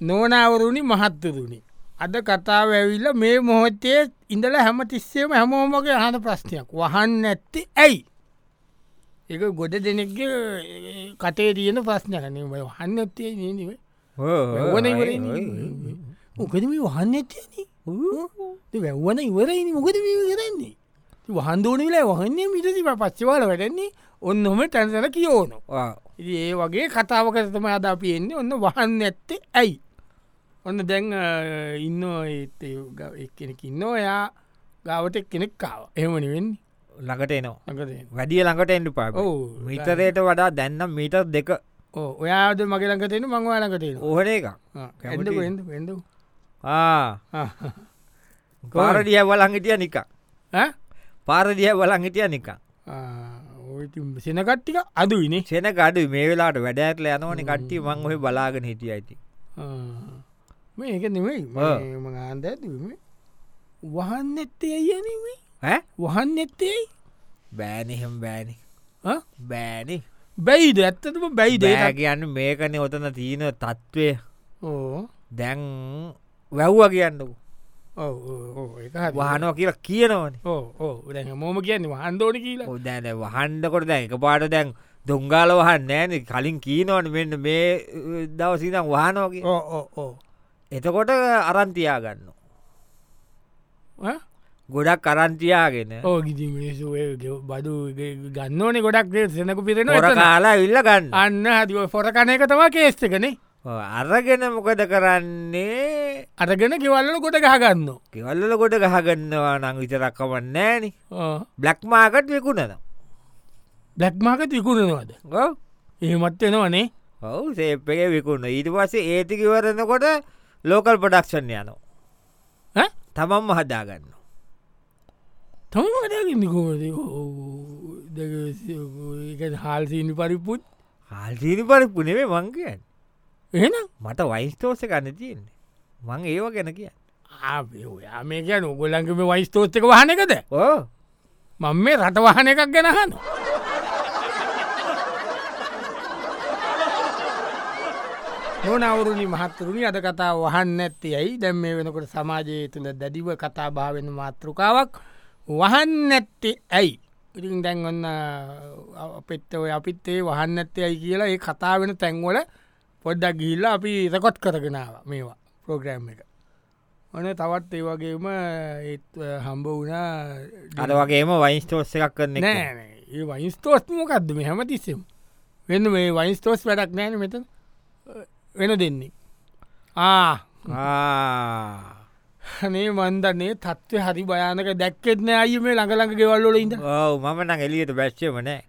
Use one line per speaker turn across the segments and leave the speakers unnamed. නෝනාවරුණි මහත්තරුණි. අද කතාව ඇවිල්ල මේ මොහොතේ ඉඳල හැම තිස්සේම හැමෝමගේ හන ප්‍රශ්නයක් වහන්න ඇත්තේ ඇයි. එක ගොඩ දෙනෙක්ග කටේ තියෙන ප්‍රශ්නයන හන්න ඇත්තේ නීනිවේ ඕන ඉවරන්නේ මොකද මේ වහන්න ඇතියන වැැව්වන ඉවරයිනි මොකද මේ කරන්නේ වහන්දෝනවිලා වහන්නේ මිටසි පච්චවාල වැටන්නේ ඔන්නොම තැන්සල කියෝනො ඉතින් ඒ වගේ කතාවක තම අද අපි එන්නේ ඔන්න වහන්න ඇත්තේ ඇයි ඔන්න දැන් අ, ඉන්න එක්කෙනෙක් ඉන්න ඔයා ගාවටක් කෙනෙක් කාව එහමනි වෙන්නේ
ළඟට එනවා
අකද
වැඩිය ළඟට එන්ඩු පාප
ඔව්.
මිතරයට වඩා දැන්නම් මීටර් දෙක
ඔයාද මගේ ලඟතෙන මංවා ලඟතෙන
ඕහන එක
ඇඩ
කැමතියි.
වෙඩ
පාරදිය වලංහිටිය නික පාරදිය වලංහිටිය නික
සෙනකට්ටික අදුවිනේ
සෙන ගඩු මේ වෙලාට වැඩඇටල යනවන කට්ටි මං ඔහ බලාගෙන හිටිය ඇති
මේක නෙවෙයි
ආ.
මහන්ද ඇතිම වහන්න එත්තේ ඇයනෙවේ වහන්න එත්තේයි
බෑනහෙම් බෑනි බෑනි
බැයිද ඇත්තටම බැයිද
දෑ කියන්න මේකන ඔතන තියෙන තත්ත්වය
ඕ
දැන් වැැව්වා කියන්නකු
එක
වහනෝ කියලා කියනවන
ඕ මෝම කියන්නේ වහන්දෝන කියලා
දැන වහන්ඩකොට දැන් එක පාට දැන් දුංගාල වහන් නෑන කලින් කීනවට මෙන්න මේ දවසිනම් වහනෝකි
ඕ ඕ ඕ
එතකොට අරන්තියා ගන්න
ඈ?
ගොඩක් අරන්තියාගෙන
ඕ ගිති මිනිසු ඔය ගෙව- බඩු ගේ- ගන්නඕනේ ගොඩක් දේ සෙනක පිරෙන
හොර කාලා ඉල්ල ගන්න
අන්න හදිව පොර කණයක තම කේස්තකනේ
ඔව්, අරගෙන මොකද කරන්නේ
අරගෙන ගෙවල්ල ගොඩ ගහගන්න
කිවල්ල ගොඩ ගහගන්නවා නං විතරක්කවන්න නෑන බ්ලක් මාකට් විකුණන
බ්ලක්්මාක තිකුණනවාද ඒමත්වෙනවනේ
ඔවු සේප්ක විකුණ ඊට පස්සේ ඒතිකිවරනකොට ලෝකල් පොඩක්ෂන් යනෝ තමම්ම හදාගන්න
තම වැඩකින්නකෝද හාල්සිීනි පරිපුත්
හල්සීනි පරිපුනේ මංකයන්
එහෙන
මට වයිස්තෝස ගන්න තියෙන්නේ මං ඒව ගැන කිය
ආේ ඔයා මේ කියන උගොල්ලන්කම වයිස්තෝත්තක වහන එකද
ඕ
මං මේ රට වහන එකක් ගැනහන්න නොනවරුණි මහත්තරුණි අද කතා වහන්න ඇත්තේ ඇයි දැම් මේ වෙනකොට සමාජයේ තුළ දැඩිව කතා භාවෙන මාතෘකාවක් වහන්න ඇත්තේ ඇයි ඉතින් දැන් ඔන්න අපිත් ඔය අපිත් ඒ වහන්න ඇත්තේ ඇයි කියලා ඒ කතා වෙන තැන්වල පොඩ්ඩක් ගිල්ල අපි රකොට් කරගෙනාව මේවා ප්‍රෝග්‍රෑම් එක ඕන තවත් ඒ වගේම ඒත් හම්බ වුණා
අර වගේම වයිස්තෝස්ස එකක් කරන්න
නෑ ඒ වයිස්තෝස්මකක්ද මෙහම තිස්සෙම වෙන්න මේ වයිස්තෝස් වැඩක් නෑන මෙත වෙන දෙන්නේ ආ හනේ මන්දන්නේ තත්ත්ව හරි භයනක දැක්කෙත්න අය මේ ළඟලඟ ගෙවල්ලොල ඉඳ
ඔව මම නං එලියට බැස්්චම නෑ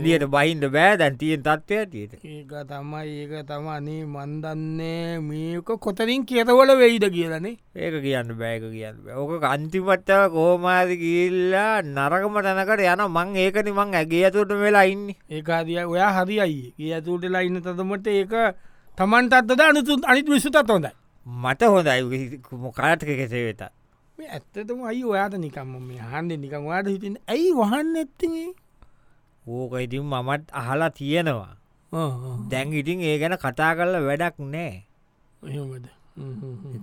එලියට බහින්ද බෑදැන් තියෙන් තත්ත්වය තියට
ඒක තමයි ඒක තම අනේ මන්දන්නේ මේක කොතරින් කියතවල වෙයිද කියලනේ
ඒක කියන්න බෑක කියන්න බෑ. ඕක අන්තිමට්ටව කෝමාද කිල්ලා නරකම තැනකට යන මං ඒකනි මං ඇගේ ඇතුට වෙලා ඉන්න
ඒක අදිය ඔයා හරි අයි ඒ ඇතුටලා ඉන්න තතමට ඒක තමන් තත්වද අනුතුන් අනිත් විසුතත් හොඳයි
මට හොඳයි මොකාටක කෙසේ වෙත
මේ ඇත්තටම අයි ඔයාට නිකම්ම මේ හන්ඩ නිකම් වාට හිතන් ඇයි වහන්න ඇත්තේ
ඕක ඉතින් මමත් අහලා තියෙනවා දැන් ඉතින් ඒ ගැන කතා කරල වැඩක් නෑ
එහමද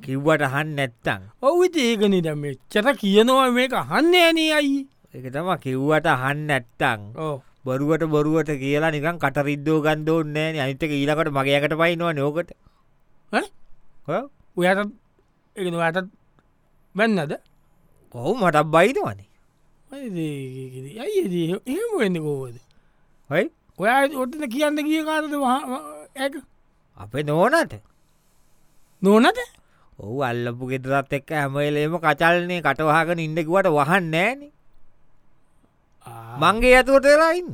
කිව්වට හන් නැත්තං
ඔවිත ඒකන ද මෙච්චර කියනවා මේක හන්න ඇනේ අයි
එක තම කිව්වට හන් නැත්තං
ඕ
බොරුවට බොරුවට කියලා නිකන් කටරිද්දෝ ගන්දෝ නෑ අනිතක ඊලකට මගේකට පයිනවා නෝකට
ඈ? ඔයාට එකවාටත් බැන්නද
ඔහු මටක් බයිතවනේ
ඇයි එහෙම වෙන්න කෝවද
හයි
ඔයා ඔටට කියන්න කිය කාරද ඇ
අපේ නෝනට
නොනද
ඔහු අල්ලපු ගෙදරත් එක්ක හැමලේම කචල්නය කටවහගෙන ඉන්නකුවට වහන් නෑන මංගේ ඇතුවට වෙලා ඉන්න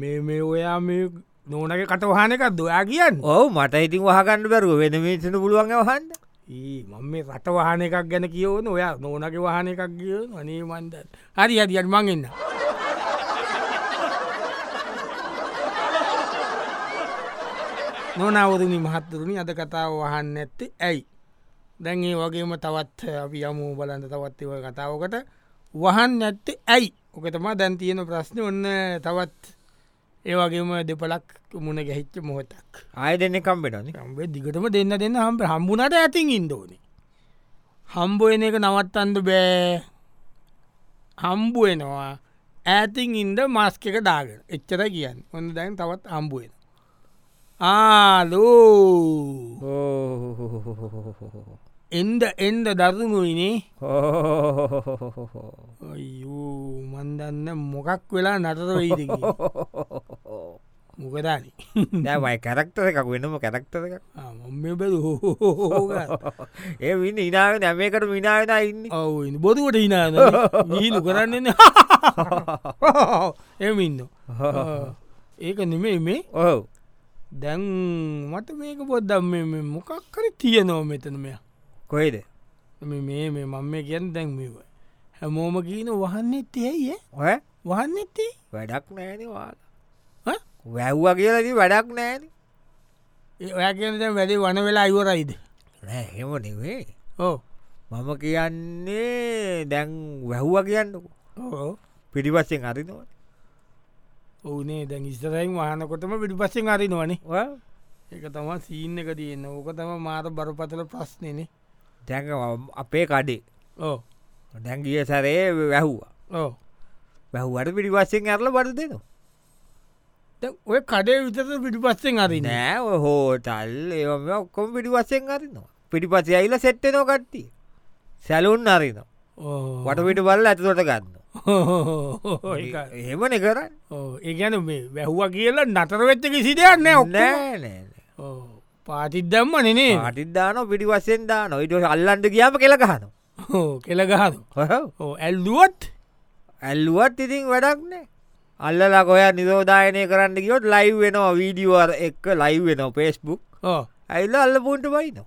මේ මේ ඔයා මේ නෝනගේ කටවහනකක් දොයා කියන්න
ඔහු මට ඉතින් වහගන්න බැරුව වෙන මිසන පුළුවන් වහන්ද
ඒ මම මේ රට වහන එකක් ගැන කියවන ඔයා නෝනගේ වහන එකක් කිය අනේ මන්ද හරි ඇතිියට මංගන්න නොනවරුණි මහත්තුරුණි අද කතාව වහන්න ඇත්තේ ඇයි දැන් ඒ වගේම තවත් අපි යමූ බලන්ට තවත්ව කතාවකට වහන් නැත්තේ ඇයි ඕක තමා දැන් තියෙන ප්‍රශ්න ඔන්න තවත් ඒවගේම දෙපලක් මුණ ගැහිච්ච මොහොතක්
ආය දෙන්න කම්පෙටන
ම්බේ දිගටම දෙන්න දෙන්න හම්ප හම්බුනට ඇතින් ඉන්දෝන හම්බුවන එක නවත්තන්ද බෑ හම්බුවෙනවා ඇතින් ඉන්ද මස්ක එක දාගෙන එච්චර කියන්න ඔන්න දැන් තවත් හම්බුවෙන ආලෝ එන්ද එන්ද දරුණුයිනේ අයෝ මන්දන්න මොකක් වෙලා නතර වෙයිද මොකදාන
දැවයි කැරක්ටර එකක් වෙනම කැරක්ටර එකක්
මෙ බැල හෝ
ඒ වින්න ඉනාව නැමකට විනාවෙනා ඉන්න
ඔවුන්න බොදුවට හිනාන නීලු කරන්නන්න එමින්න ඒක නෙමේ මේ
ඔහු
දැන් මට මේක පොද්දම් මොකක් කර තියනෝ මෙතන මෙයා
කොයිද
මේ මේ මේ මං මේ ගැන් දැන් මේව හැමෝම කියීන වහන්නෙත් ඇයිය
ඔය
වහන්නෙත්තේ
වැඩක් නෑනවා වැැව්වා කියලදී වැඩක් නෑන
ඔයා කියන දැන් වැඩේ වන වෙලා අයිවරයිද
නෑහෙම නෙවේ
ඕ
මම කියන්නේ දැන් වැැහ්වා කියන්නකු
ඕ
පිටිපස්සෙන් අරිනවා
ඕනේ දැන් ඉස්සරයින් වහනකොටම පිටි පස්සෙන් අරි නොවනේ එක තම සීන්න එක තියන්න ඕක තම මාර බරපතල ප්‍රශ්නයනේ
දැන් අපේ කඩේ
ඕ
දැන් ගිය සැරේ වැැහ්වා
ඕ
වැැහ්වට පිටිපස්සෙන් ඇරල බට දෙනවා
දැන් ඔය කඩේ විතර පිටි පස්සෙන් අරි නෑ
නෑ ඔය හෝටල් ඒම ඔක්කොම පිටිපස්සෙන් අරිනවා පිටිපස ඇයිල සෙට්ටනෝ කට්ටි සැලුන් අරිනවා වටපිට බල්ල ඇතුවට ගන්න එහෙම නෙකර
ඒගැන මේ වැැහ්වා කියලා නතර වෙච්ච කිසි දෙයන්න ඔක්නෑ
නෑ
පාතිත් දැම්ම නනේ
අටිදදාන පිටිවස්සෙන් දා නොයිට අල්ලන්ට කියාම කෙලගහන
කෙළගහන ඇල්දුවත්
ඇල්ලුවත් ඉතින් වැඩක් නෑ අල්ලලා කොයා නිදෝදායනය කරන්න ගියොත් ලයි් වෙනවා වීඩියුවර් එක් ලයි් වෙන පේස්බුක් ඇල්ල අල්ල පුන්ට බයින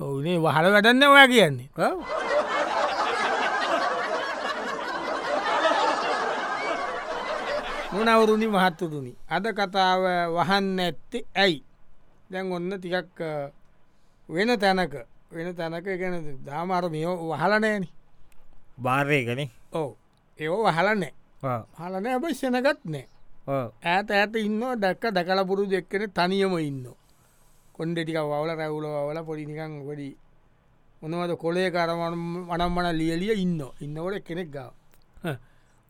ඔවුනේ වහල වැටන්න ඔයා කියන්නේ මොනවුරුණි මහත්තුරුණි අද කතාව වහන්න ඇත්තේ ඇයි දැන් ඔන්න ටිකක් අ, වෙන තැනක වෙන තැනක ගැන දාමාර මෙෝ වහලනෑන
බාර්යකන
ඕ ඒෝ වහලනෑ හලනෑ අප ෂනගත් නෑ ඇත ඇත ඉන්න දැක්ක දකල පුරු දෙක්කන තනියම ඉන්න කොන්ඩ ටික වවල රැවුල වල පොඩිනිකං වැඩි මොනවද කොලේ කරවන් වනම් වන ලියලිය ඉන්න ඉන්නවට කෙනෙක් ගාව හ.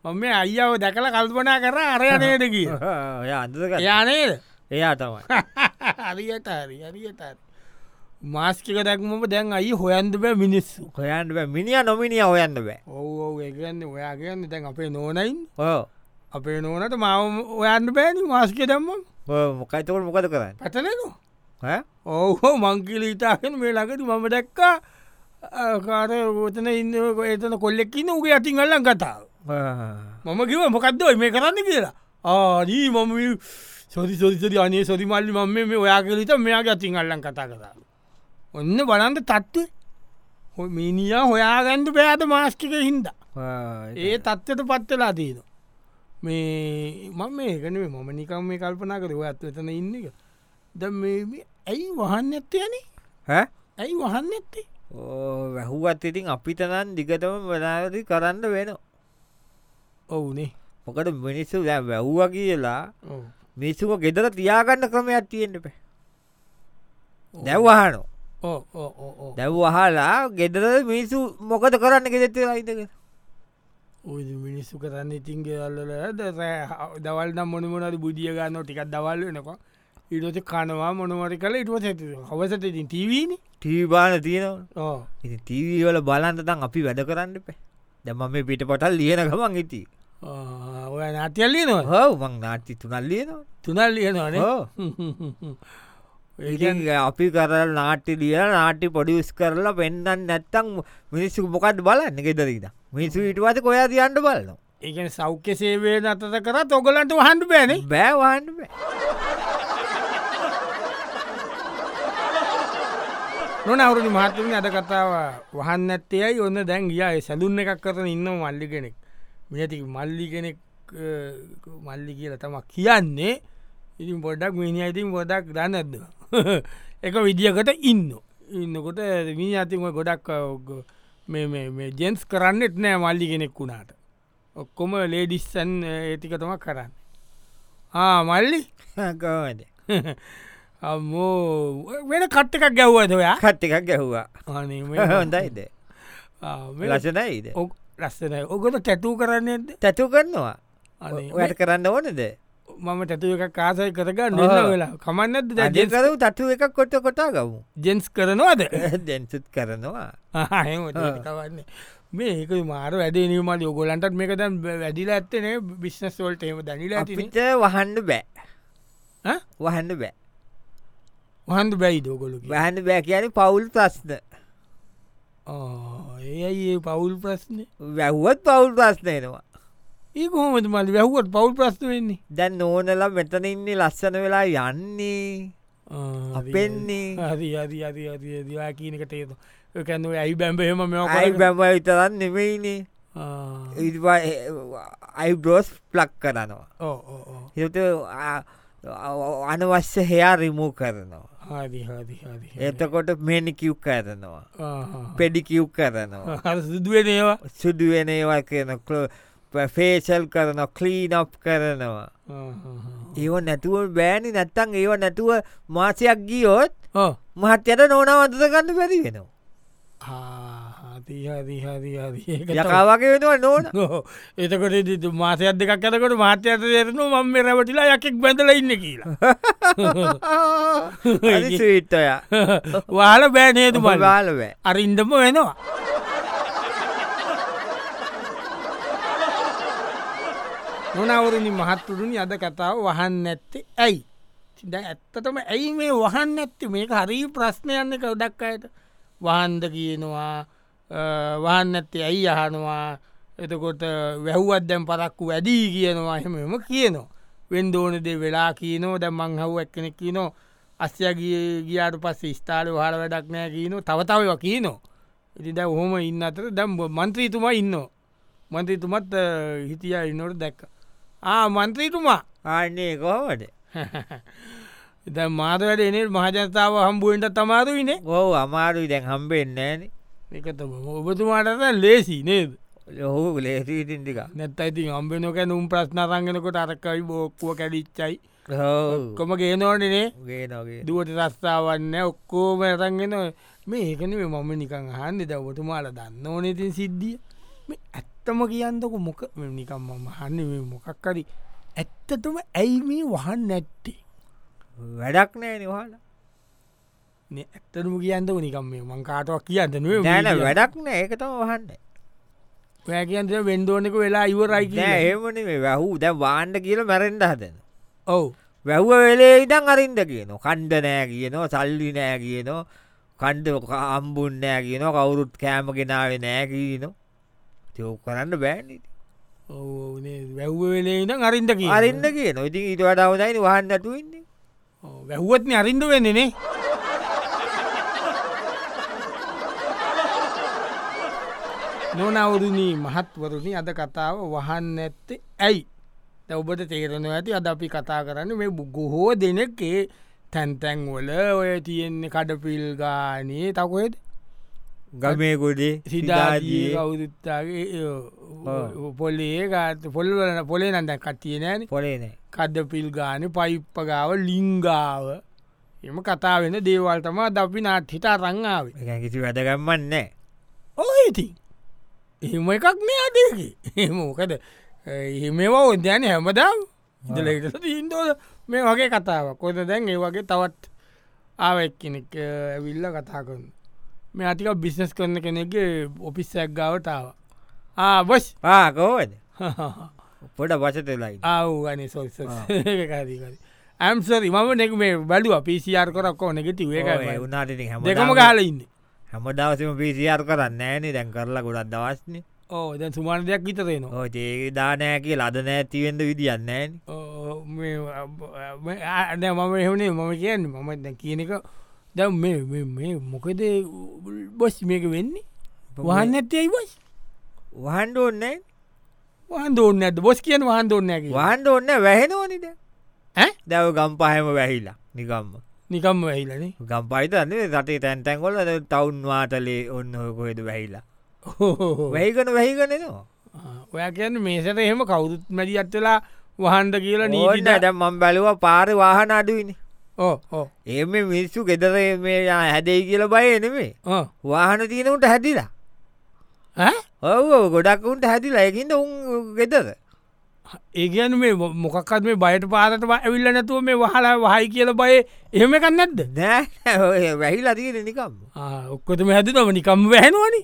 මම මේ අයිාව දැකල කල්පනා කර අරයනයට කිය
ඔය අඳක
යානේද
එයා තමයි
හරියට හරි හරියට හරි. මාස්කික දැක්මම දැන් අයි හොයන්ද බෑ මිනිස්සු
කොයන්ට මිනිිය නොමිනිිය ඔයන්න බෑ
ඔව ඔව ඒගන්න ඔයා කියන්න දැන් අපේ නෝනයින්
ඕ
අපේ නෝනට මම ඔයන්න බෑන මාස්කය දැම්ම
මොකයිතකට මොකද කරන්න
පැටලෙනවා
ඈ?
ඔහෝ මංකිලීතාකෙන් මේ ලකට මම දැක්කා අ, කාර ගෝතන ඉන්න එතන කොල්ලෙක්කින්න උගේ ඇතින් අල්ලන් කතාව
ආ.
මම කිව මොකක්ද ඔය මේ කරන්න කියලා ආදී මම මේ සොරි සොරිසරි අනේ සොරි මල්ලි මම මේ- මේ ඔයා කලීත මෙයාගේ ඇතින් අල්ලන් කතා කතා ඔන්න බලන්ට තත්ත්ව හො මිනිිය හොයාගන්ඩ පෑද මාස්ටික හින්දා
ආ, ඒක-
ඒ තත්ත්වයට පත්වෙලා දීන මේ මම මේකනේ මම නිකම් මේ කල්පනා කර ඇත් වෙතන ඉන්න එක ද මේ ඇයි වහන්න ඇත්තයනේ
ඈ?
ඇයි වහන්න ඇත්තේ
ඕ, වැහුවත් ඉතින් අපිතනන් දිගටම වනාදි කරන්න වෙන
ඔවුනේ
මොකට මිනිස්සු දැ වැැහ්ව කියලා මිනිස්සුක ගෙදර තියාගන්න ක්‍රමයක් තියෙන්ට පැ දැව්වාහනෝ
ඕ ඕ ඕ ඕ
දැව් වහලා ගෙදර මිනිස්සු මොකද කරන්න ගෙදෙත්ත අයිතක
ඔය මිනිස්සු කරන්න ඉතින් ගෙල්ල දවල් නම් මොනමනද බුදිය ගන්න ටිකක් දවල් වෙනකවා ඉඩස කනවා මොනවරි කල ඉටුව සැත හවසට ඉතින් ටීවීන
ටීබාන තියෙනවන
ඕ
ඉති ටීවීවල බලන්තතන් අපි වැඩ කරන්න පැ දැම මේ පිට පටල් ලියන ගමන් ඉති
ඔය නාතියල්ලි නවා
හව මං නාටි තුනල් ලියනවා
තුනල් ලියනවානේ
හෝ. ඉතින් අපි කර නාටි දිය නාටි පොඩිස් කරලා පෙන්න්න නැත්තං මිනිස්සු මොකක්ද බලන්න ගෙදරීද මිනිසු ඉටවාස කොයා තියන්ට බලන
ඒකන සෞඛ්‍ය සේවය නතත කරත් ඔගලන්ට වහන්ඩු බෑනේ
බෑවාන්න
නොන අවුරුදු මහත්තුමින් අද කතාව වහන්න ඇත්තයයි ඔන්න දැන් ගියාය සැඳුන් එකක් කරන ඉන්න මල්ලි කෙනෙක් මෙති මල්ලි කෙනෙක් අ, මල්ලි කියල තමක් කියන්නේ ඉතින් පොඩක් මිනි අයිතින් පොඩක් දන්නද එක විදිියකට ඉන්න ඉන්නකොට මිනි අතිම ගොඩක් අ, ඔග- මේ- මේ- මේ ජෙන්ස් කරන්නෙත් නෑ මල්ලි කෙනෙක් වුණාට ඔක්කොම ලේඩිස්සන් ඒටික තම කරන්න ආ මල්ලි
කවද
අම්මෝ වෙන කට් එකක් ගැව්වද ඔයා
කට් එකක් ගැහ්වා
අනේ මේ
හොඳයිද
ආ, මේ
ලසනයිද
ඔක්- ලස්සනයි ඔගොට තැටූ කරන්නේද
තැතු කරනවා
අනේ
ඔයට කරන්න ඕනද
මම තැතුව එකක් කාසය කරගන්න
ඔව්.
ඔන්න වෙලා කමන්නද
අදේ කරු තට්ටු එකක් කොට කොටා ගමු
ජෙන්ස් කරනවාද
දැන්සුත් කරනවා ඔව්.
හවන්නේ මේක මාර වැඩනීමට යොගොලන්ටත් මේක දැන් වැඩිලා ඇත්තනේ බිශ්නස් වොල්ට එම දැනිලා ඇති
අපිට වහන්ඩ බෑ වහන්ඩ බෑ
වහන්ද බැයි දෝගොලු
වහන්න බෑ කියන පවුල් ප්‍රශ්න
ඒයි ඒ පවුල් ප්‍රශ්නය
වැැහුවත් පවුල් ප්‍රශ්නයනවා
ඒ කොහොමද මල් වැැහුවත් පවුල් ප්‍රශ්න වෙන්නේ
දැන් නෝනලා මෙතන ඉන්නේ ලස්සන වෙලා යන්නේ අපෙන්නේ.
හරි අරි අරි අරි දවා කියීනකට ඒතු කැන ඇයි බැම්බහෙම මෙ
අයි බැම විතරන්න නෙමෙයිනේ අයිබ්‍රෝස් ප්ලක් කරනවා හිට අනවශ්‍ය හයා රිමූ කරනවා
හරි හරි හරි
එතකොට මෙනිකිව් කරනවා පෙඩිකිව් කරනවා
හර සිදුවෙන ඒවා
සුදුවෙන ඒවා කියන කලෝ ෆේසල් කරන කලීනප් කරනවා ඒව නැතුව බෑනි නැත්තං ඒව නැතුව මාසයක් ගියෝත්
ඕ
මහත්යට නෝනවන්තද ගන්න පැරි වෙනවා යකාවගේ වෙනවා නෝන
එතකොට ඉතින් මාසයක් දෙකක් ඇතකොට මාත්‍යයට දෙරනු මම මේ රැවටිලා යකෙක් බැඳල ඉන්න කියලා
ස්විට්ටය
වාල බෑනේතු මල්
බාලවෑ
අරින්ඩම වෙනවා නොනවරනි මහත්තුරුනි අද කතාව වහන්න ඇත්තේ ඇයි සිද ඇත්තටම ඇයි මේ වහන්න ඇත්ති මේක හරි ප්‍රශ්නයන්න එක උඩක් අයට වහන්ද කියනවා අ, වහන්න ඇත්තේ ඇයි අහනවා එතකොට වැැහුවත් දැම් පරක්කු වැඩී කියනවා එහෙමම කියනවා වෙන් දෝනදේ වෙලා කියනෝ දැ මංහව එක්කෙනෙක් කියනෝ අස්යගේ ගියාට පස්සේ ස්ථාල හර වැඩක් නෑ කියනෝ තවතාව කියනෝ ඉති දැ හොම ඉන්න අතර දැම් මන්ත්‍රීතුමා ඉන්නවා මන්ත්‍රීතුමත් අ, හිටියා ඉන්නොට දැක්ක ආ මන්ත්‍රීතුමා
ආන්නේ කොහමට
එත මාත වැඩ එනේ මහජනතාව හම්බුවෙන්ට තමාරුයිනේ
ඔව අමාරුයි දැන් හම්බෙන්නෑන
එකතම ඔබතුමාටත ලේසි නේද
ලොහු ලේසිීටින්ටික
නැත් අයිති අම්බෙනොක නුම් ප්‍රශ්න රංගෙනකොට අරකයි බෝක්කුව කැඩිච්චයි කොම ගේනෝටනේ
ගේ නොගේ
දුවට රස්ථාවන්න ඔක්කෝම රංගෙන මේ ඒකන මේ මම නිකං හන්නෙ ද ඔබතුමාල දන්න ඕනතින් සිද්ධිය මේ ඇත්තම කියන්නක මොක මේ නිකම් මම හන්න මොකක්කරි ඇත්තතුම ඇයි මේ වහන් නැට්ටේ
වැඩක් නෑ නිවාල
නේ ඇත්තටම කියන්නක නිකම් මේ මං කාටවක් කියන්න නුව
නෑන වැඩක් නෑ ඒකතම වහන්න
ඔය කියන්ට වෙන්ඩෝනෙක වෙලා ඉවරයි
නෑ
කිය
ඒමන මේ වැහූ දැ වාන්ඩ කියල මැරෙන්ඩ හදන
ඔව
වැැව්ව වෙලේ ඉඩන් අරින්ද කියන කණ්ඩ නෑ කියනවා සල්ලි නෑ කියනවා කණ්ඩ අම්බුන් නෑ කියන කවුරුත් කෑම ගෙනාව නෑ කියන තියෝ කරන්න බෑන්
වැැව්ව වෙලේන අරින්ද කිය
අරන්න කියන ඉතින් ඉට වඩාවදයින වහන්න ඇතුවෙන්නේ
වැැහුවත්න අරින්ද වෙන්නේනේ නොනවුරුණී මහත්වරුණි අද කතාව වහන්න ඇත්තේ ඇයි දැන් ඔබට තේරෙන ඇති අද අපි කතා කරන්න මේ බු- ගොහෝ දෙනකේ තැන්තැන්වල ඔය තියෙන්නේ කඩපිල් ගානයේ තකොහෙද
ගමේ ගොඩේ
සිදාජී කවුරුත්තාගේ
ඔව්.
පොලේ ගාත පොල්වලන පොලේ නන්දැ කටතිය නෑන
පොලේනෑ
කඩපිල් ගාන පයිප්පගාව ලිංගාව එම කතා වෙන දේවල්තම දපි නාට හිතා රංාවේ
එක කිසි වැදගම්මන්න
ඕයිති එහෙම එකක් මේ අදකි එමකද එහෙමවා ඔද්‍යාන හැමදම් ඉදලට ඉන්දෝද මේ වගේ කතාව කොද දැන් ඒ වගේ තවත් ආවක් කෙනෙක් ඇවිල්ල කතා කරන්න මේ අතික බිස්නස් කරන කෙනෙක් ඔපිස් සැක්ගාවටාව ආබස්
පාකෝද පොඩ වසතලයි
ආවගනි සොල්ස කාදීකරි ඇම්සරි මම නෙක මේ බලුව පිසිR කොරක්කෝ නෙගෙති වේක
වුණට
දෙකම ගාල ඉන්න
හැමදවසම පිසියාර් කරන්න ෑනේ දැන් කරලා ගොඩක් දවස්න
ඕ දැන් සුමාන දෙයක් විතරේනවා
ඕ ඒ දානෑකේ ලද නෑතිවෙන්ද විදිියන්නෑන
අඩ මම එහුණේ මම කියන්න මම දැ කියන එක දැ මේ මොකද බොස් මේක වෙන්නේ වහන්න ඇත්තයි බොස්
වහන්ඩ ඕන්න
වහන් දෝන්න ඇද බොස් කියන වහන් දෝන්නැකි
වහන්ඩ ඕන්න වැහෙනෝනිට දැව ගම් පහෙම වැහිලා නිකම්ම
නිකම්ම වෙහිලනේ
ගම් පයිතන්න රටේ තැන්තැන්කොල තවුන් වාතලේ ඔන්න හොකොහෙද වැහිලා
හෝ
වැහිකන වැහිගනනවා
ඔය කියන්න මේසට එහෙම කවුරුත් මැඩි අත්වෙලා වහන්ද කියලා
ඕන්න
නීට
ඇට මම් බැලුව පාරි වාහන අඩුවනි
ඕ ඕ
එම මිනිස්සු ගෙදර මේ යා හැදයි කියල බය එනෙමේ
ඕ
වාහන තියෙනකට හැදිලා
ඈ?
ඔව ගොඩක් උන්ට හැදිලා එකින්ට උන් ගෙදර
ඒ ගැන මේ මො- මොකක්කත් මේ බයට පාරට වා- ඇවිල්ල නැතුව මේ වහලා වහයි කියල බය එහෙම එකක් නැද්ද
නෑ ඔය වැහිලා තියෙන නිකම්
ආ, ඔක්කොටම හැදනම නිකම් වැහෙනවනි